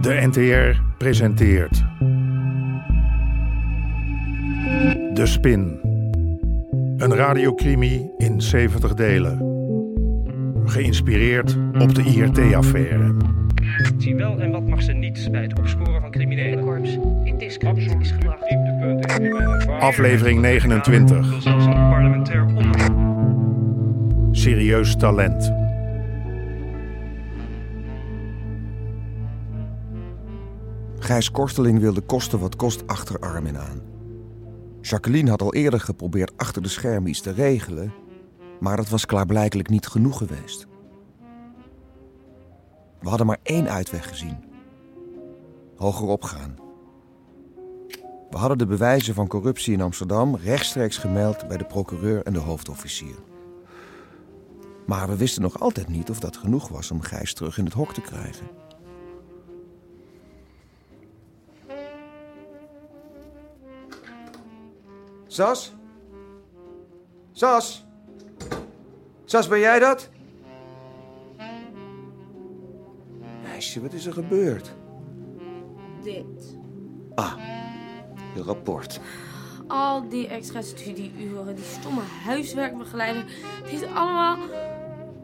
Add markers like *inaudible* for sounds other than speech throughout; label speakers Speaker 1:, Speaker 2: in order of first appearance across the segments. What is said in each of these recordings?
Speaker 1: De NTR presenteert. De Spin. Een radiocrimi in 70 delen. Geïnspireerd op de IRT-affaire.
Speaker 2: Wat Zie wel en wat mag ze niet bij het opsporen van criminelen.
Speaker 3: Corps in discrediet is gebracht.
Speaker 1: Aflevering 29.
Speaker 2: Wil zelfs een parlementair onderzoek.
Speaker 1: Serieus talent.
Speaker 4: Gijs Korteling wilde kosten wat kost achter Armin aan. Jacqueline had al eerder geprobeerd achter de schermen iets te regelen, maar dat was klaarblijkelijk niet genoeg geweest. We hadden maar één uitweg gezien. Hoger opgaan. We hadden de bewijzen van corruptie in Amsterdam rechtstreeks gemeld bij de procureur en de hoofdofficier. Maar we wisten nog altijd niet of dat genoeg was om Gijs terug in het hok te krijgen. Sas? Sas? Sas, ben jij dat? Meisje, wat is er gebeurd?
Speaker 5: Dit.
Speaker 4: Je rapport.
Speaker 5: Al die extra studieuren, die stomme huiswerkbegeleider. Het heeft allemaal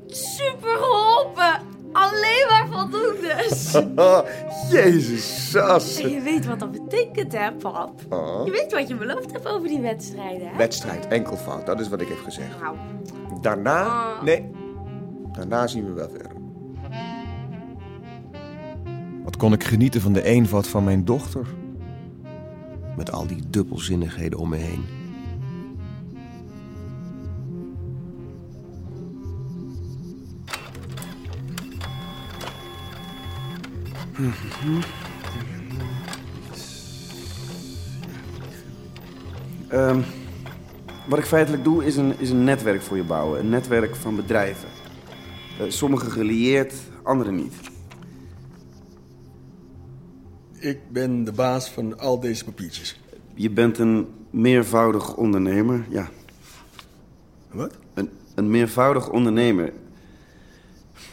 Speaker 5: super geholpen. Alleen maar voldoende. *laughs*
Speaker 4: Oh, jezus, Sas.
Speaker 5: En je weet wat dat betekent, hè, pap? Je weet wat je beloofd hebt over die wedstrijden, hè?
Speaker 4: Wedstrijd, enkelvoud, dat is wat ik heb gezegd.
Speaker 5: Nou,
Speaker 4: Daarna...
Speaker 5: Ah.
Speaker 4: Nee, daarna zien we wel verder. Wat kon ik genieten van de eenvoud van mijn dochter? Met al die dubbelzinnigheden om me heen.
Speaker 6: Ehm, wat ik feitelijk doe is een, is een netwerk voor je bouwen. Een netwerk van bedrijven. Eh, sommige gelieerd, andere niet.
Speaker 7: Ik ben de baas van al deze papiertjes.
Speaker 6: Je bent een meervoudig ondernemer. Ja,
Speaker 7: Wat?
Speaker 6: een, een meervoudig ondernemer.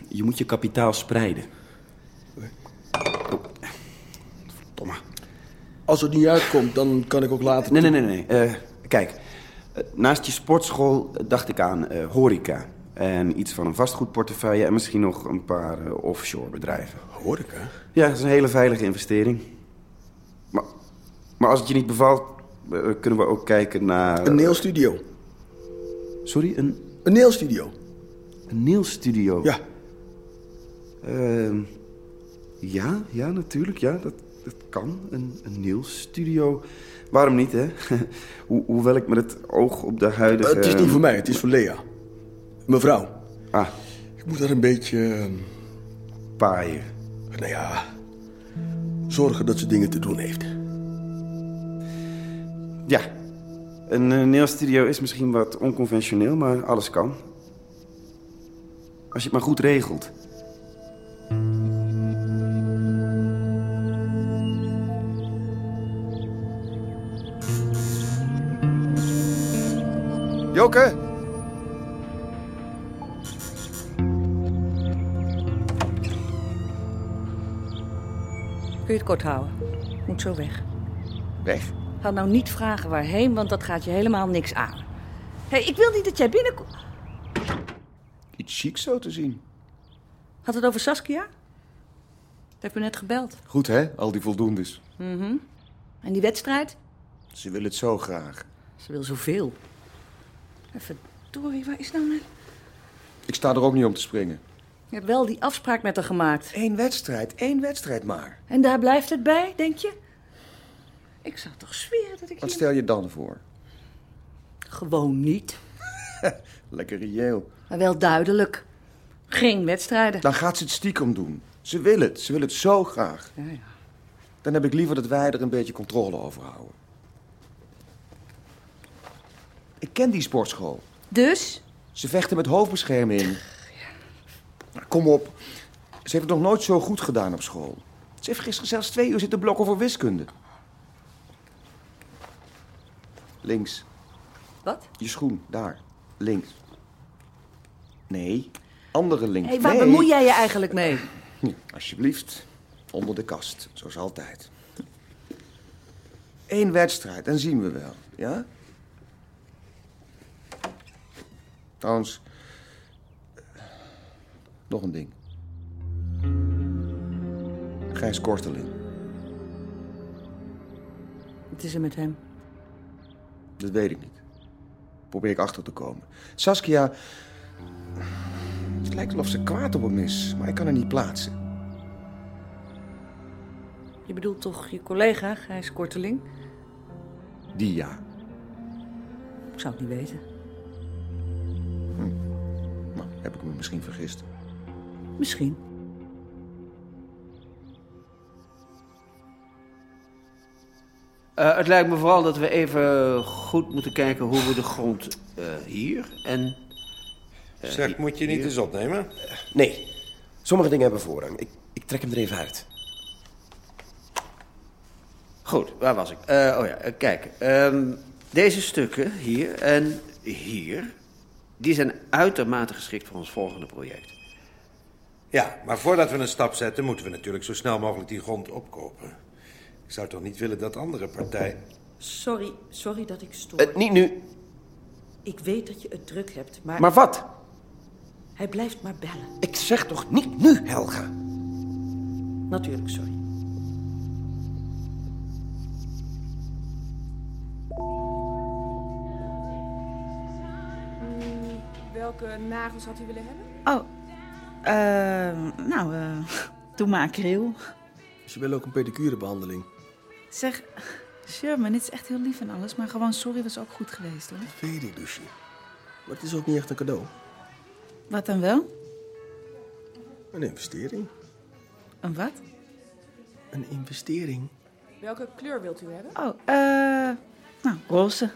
Speaker 6: Je moet je kapitaal spreiden. Verdomme.
Speaker 7: Als het niet uitkomt, dan kan ik ook later...
Speaker 6: Nee, nee, nee. nee. Eh, kijk, eh, naast je sportschool eh, dacht ik aan eh, horeca. En iets van een vastgoedportefeuille en misschien nog een paar eh, offshore bedrijven.
Speaker 7: Hoor ik, hè?
Speaker 6: Ja, dat is een hele veilige investering. Maar, maar als het je niet bevalt, eh, kunnen we ook kijken naar...
Speaker 7: Een nailstudio.
Speaker 6: Sorry, een,
Speaker 7: Een nailstudio.
Speaker 6: een nailstudio?
Speaker 7: Ja.
Speaker 6: Ehm, ja, ja, natuurlijk, ja, dat, dat kan. Een, een nailstudio. Waarom niet, hè? *laughs* Ho- hoewel ik met het oog op de huidige...
Speaker 7: eh, Het is niet voor mij, het is voor Lea. Mevrouw.
Speaker 6: Ah,
Speaker 7: Ik moet haar een beetje... ehm,
Speaker 6: paaien.
Speaker 7: Nou ja... Zorgen dat ze dingen te doen heeft.
Speaker 6: Ja, een eh, nailstudio is misschien wat onconventioneel, maar alles kan. Als je het maar goed regelt.
Speaker 4: Joke!
Speaker 8: Kun je het kort houden? Moet zo weg.
Speaker 4: Weg.
Speaker 8: Ga nou niet vragen waarheen, want dat gaat je helemaal niks aan. Hé, ik wil niet dat jij binnenkomt.
Speaker 4: Iets chics zo te zien.
Speaker 8: Had het over Saskia? Dat heeft me net gebeld.
Speaker 4: Goed, hè? Al die voldoendes.
Speaker 8: En die wedstrijd?
Speaker 4: Ze wil het zo graag.
Speaker 8: Ze wil zoveel. En Verdorie, waar is nou mijn...
Speaker 4: Ik sta er ook niet om te springen.
Speaker 8: Je hebt wel die afspraak met haar gemaakt.
Speaker 4: Eén wedstrijd, één wedstrijd maar.
Speaker 8: En daar blijft het bij, denk je? Ik zou toch zweren dat ik
Speaker 4: Wat
Speaker 8: hier-
Speaker 4: stel je dan voor?
Speaker 8: Gewoon niet.
Speaker 4: Lekker reëel.
Speaker 8: Maar wel duidelijk. Geen wedstrijden.
Speaker 4: Dan gaat ze het stiekem doen. Ze wil het, ze wil het zo graag.
Speaker 8: Ja, ja.
Speaker 4: Dan heb ik liever dat wij er een beetje controle over houden. Ik ken die sportschool.
Speaker 8: Dus?
Speaker 4: Ze vechten met hoofdbescherming. Nou, Kom op. Ze heeft het nog nooit zo goed gedaan op school. Ze heeft gisteren zelfs twee uur zitten blokken voor wiskunde. Links.
Speaker 8: Wat?
Speaker 4: Je schoen, daar. Links. Nee, andere links.
Speaker 8: Hé, waar
Speaker 4: nee.
Speaker 8: bemoei jij je eigenlijk mee?
Speaker 4: Alsjeblieft. Onder de kast, zoals altijd. Eén wedstrijd, dan zien we wel, ja? Trouwens, eh, nog een ding. Gijs Korteling,
Speaker 8: Het is er met hem.
Speaker 4: dat weet ik niet. Probeer ik achter te komen. Saskia, het lijkt wel of ze kwaad op hem is, maar ik kan haar niet plaatsen.
Speaker 8: Je bedoelt toch je collega, Gijs Korteling?
Speaker 4: Die ja.
Speaker 8: Ik zou het niet weten.
Speaker 4: Nou, heb ik me misschien vergist.
Speaker 8: Misschien.
Speaker 9: Eh, het lijkt me vooral dat we even goed moeten kijken hoe we de grond eh, hier en...
Speaker 10: Zeg, moet je niet eens opnemen?
Speaker 11: Nee, sommige dingen hebben voorrang. Ik, ik trek hem er even uit.
Speaker 9: Goed, waar was ik? Eh, oh ja, eh, kijk. ehm, deze stukken hier en hier, die zijn uitermate geschikt voor ons volgende project.
Speaker 10: Ja, maar voordat we een stap zetten, moeten we natuurlijk zo snel mogelijk die grond opkopen. Ik zou toch niet willen dat andere partij.
Speaker 12: Sorry, sorry dat ik stoor.
Speaker 11: Eh, niet nu.
Speaker 12: Ik weet dat je het druk hebt, maar...
Speaker 11: Maar wat?
Speaker 12: Hij blijft maar bellen.
Speaker 11: Ik zeg toch niet nu, Helga?
Speaker 12: Natuurlijk, sorry.
Speaker 13: Welke nagels had u willen hebben?
Speaker 14: Oh, ehm, nou, eh, *laughs* doe maar kril.
Speaker 7: Ze willen ook een pedicurebehandeling.
Speaker 14: Zeg, Sherman, het is echt heel lief en alles, maar gewoon sorry was ook goed geweest, hoor.
Speaker 7: Weet ik, Lucie. dus. Maar het is ook niet echt een cadeau.
Speaker 14: Wat dan wel?
Speaker 7: Een investering.
Speaker 14: Een wat?
Speaker 7: Een investering.
Speaker 13: Welke kleur wilt u hebben?
Speaker 14: Oh, eh, nou, roze.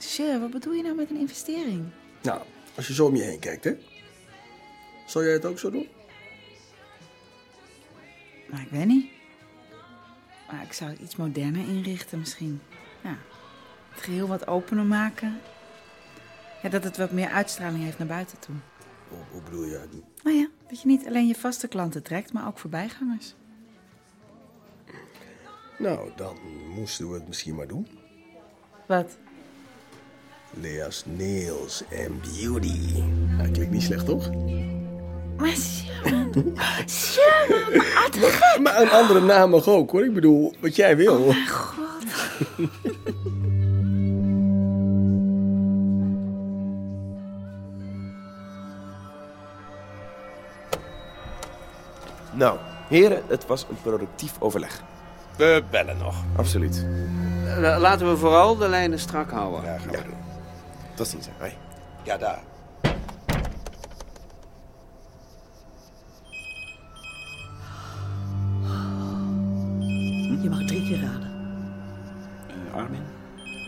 Speaker 14: Sher, wat bedoel je nou met een investering?
Speaker 7: Nou, als je zo om je heen kijkt, hè? Zou jij het ook zo doen?
Speaker 14: Maar Nou, ik weet niet. Maar Ah, ik zou het iets moderner inrichten misschien. Ja, het geheel wat opener maken. Ja, dat het wat meer uitstraling heeft naar buiten toe.
Speaker 7: Hoe, hoe bedoel je?
Speaker 14: Nou ja, dat je niet alleen je vaste klanten trekt, maar ook voorbijgangers.
Speaker 7: Nou, dan moesten we het misschien maar doen.
Speaker 14: Wat?
Speaker 7: Lea's Nails and Beauty. Nou, klinkt niet slecht, toch?
Speaker 14: Maar Sherman, Sherman, wat te gek!
Speaker 7: Maar een andere naam mag ook, hoor. Ik bedoel, wat jij wil.
Speaker 11: Nou, heren, het was een productief overleg.
Speaker 10: We bellen nog.
Speaker 11: Absoluut.
Speaker 9: Eh, la- laten we vooral de lijnen strak houden. Ja,
Speaker 11: gaan we doen. Tot ziens, hè. Hoi.
Speaker 10: Ja, daar.
Speaker 12: Je mag drie keer raden.
Speaker 7: Eh,
Speaker 15: Armin?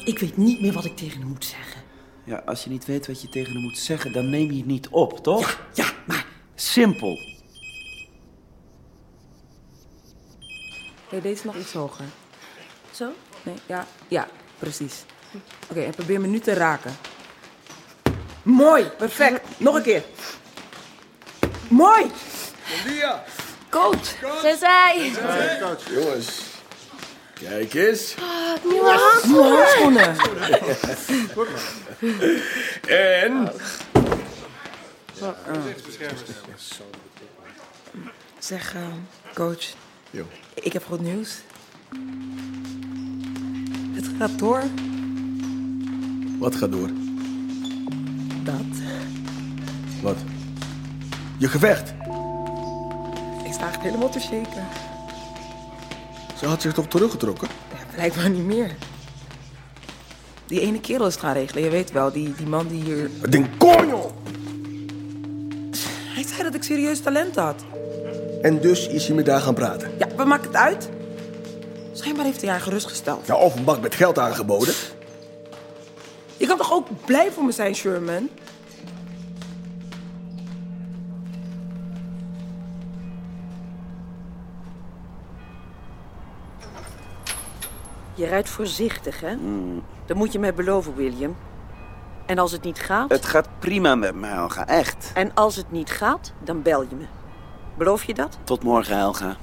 Speaker 12: Ik weet niet meer wat ik tegen hem moet zeggen.
Speaker 15: Ja, als je niet weet wat je tegen hem moet zeggen, dan neem je het niet op, toch? Ja, maar... Simpel.
Speaker 16: Nee, deze nog iets hoger.
Speaker 5: Zo?
Speaker 16: Nee, ja, ja, precies. Oké, en probeer me nu te raken.
Speaker 14: Mooi,
Speaker 16: perfect. Nog een keer. Mooi!
Speaker 7: Lia!
Speaker 5: Coach!
Speaker 7: Hey,
Speaker 5: Sensei!
Speaker 7: coach. Jongens, kijk eens.
Speaker 14: Ah,
Speaker 5: Nieuwe
Speaker 16: Nieuwe
Speaker 5: handschoenen!
Speaker 16: handschoenen.
Speaker 7: En?
Speaker 16: Zeg, eh, coach.
Speaker 7: Jo.
Speaker 16: Ik heb goed nieuws. Het gaat door.
Speaker 7: Wat gaat door?
Speaker 16: Dat.
Speaker 7: Wat? Je gevecht.
Speaker 16: Ik sta echt helemaal te shaken.
Speaker 7: Ze had zich toch teruggetrokken?
Speaker 16: Blijkbaar niet meer. Die ene kerel is het gaan regelen, je weet wel. Die, die man die hier...
Speaker 7: Den Coño!
Speaker 16: Hij zei dat ik serieus talent had.
Speaker 7: En dus is hij met daar gaan praten.
Speaker 16: Ja, we maken het uit. Schijnbaar heeft hij haar gerustgesteld.
Speaker 7: Ja, of een bak Nou, met geld aangeboden.
Speaker 16: Je kan toch ook blij voor me zijn, Sherman?
Speaker 12: Je rijdt voorzichtig, hè? Dat moet je mij beloven, William. En als het niet gaat...
Speaker 15: Het gaat prima met mij, Olga, echt.
Speaker 12: En als het niet gaat, dan bel je me.
Speaker 14: Beloof je dat?
Speaker 7: Tot morgen, Helga.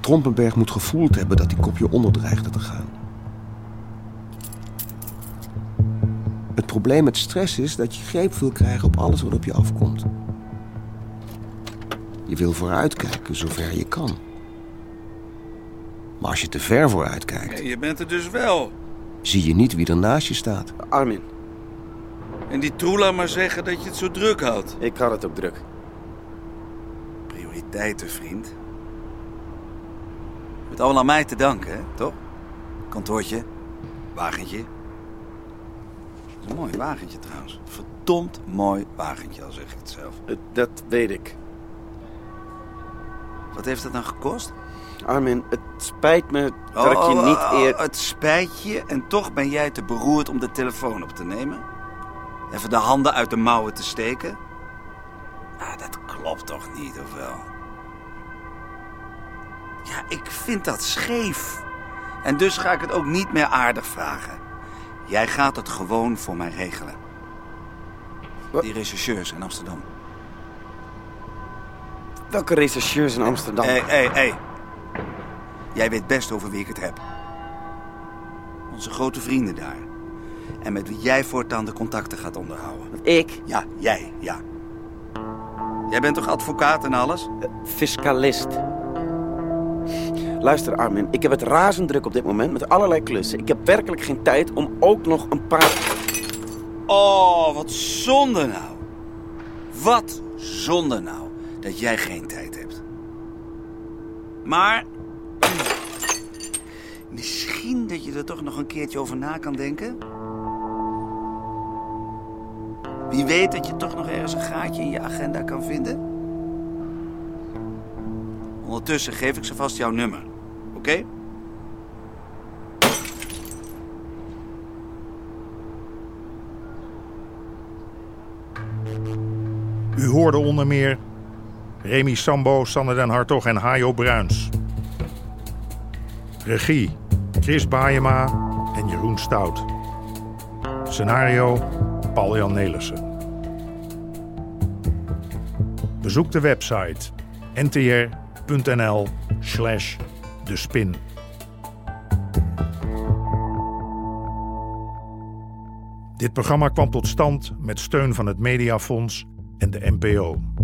Speaker 4: Trompenberg moet gevoeld hebben dat die kopje onder dreigde te gaan. Het probleem met stress is dat je greep wil krijgen op alles wat op je afkomt. Je wil vooruitkijken zover je kan. Maar als je te ver vooruitkijkt,
Speaker 17: Je bent er dus wel.
Speaker 4: zie je niet wie er naast je staat.
Speaker 17: Armin. En die troela maar zeggen dat je het zo druk houdt.
Speaker 6: Ik had het ook druk.
Speaker 7: Prioriteiten, vriend. Met allemaal aan mij te danken, hè? toch? Kantoortje, wagentje. Dat is een mooi wagentje trouwens. Verdomd mooi wagentje, al zeg ik het zelf.
Speaker 6: Dat weet ik.
Speaker 7: Wat heeft dat nou gekost?
Speaker 6: Armin, het spijt me dat ik je niet eer...
Speaker 7: Oh, Het spijt je en toch ben jij te beroerd om de telefoon op te nemen? Even de handen uit de mouwen te steken? Ah, dat klopt toch niet, of wel? Ja, ik vind dat scheef. En dus ga ik het ook niet meer aardig vragen. Jij gaat het gewoon voor mij regelen. Die rechercheurs in Amsterdam.
Speaker 6: Welke rechercheurs in Amsterdam?
Speaker 7: Hé, hé, hé. Jij weet best over wie ik het heb. Onze grote vrienden daar. En met wie jij voortaan de contacten gaat onderhouden.
Speaker 6: Ik?
Speaker 7: Ja, jij, ja. Jij bent toch advocaat en alles?
Speaker 6: Fiscalist. Luister Armin, ik heb het razend druk op dit moment met allerlei klussen. Ik heb werkelijk geen tijd om ook nog een paar...
Speaker 7: Oh, wat zonde nou. Wat zonde nou dat jij geen tijd hebt. Maar misschien dat je er toch nog een keertje over na kan denken. Wie weet dat je toch nog ergens een gaatje in je agenda kan vinden. Ondertussen geef ik ze vast jouw nummer. Oké?
Speaker 1: U hoorde onder meer Remy Sambo, Sander den Hartog en Hajo Bruins. Regie Chris Baayema en Jeroen Stout. Scenario Paul-Jan Nelissen. Bezoek de website ntr.nl slash de spin. Dit programma kwam tot stand met steun van het Mediafonds en de NPO.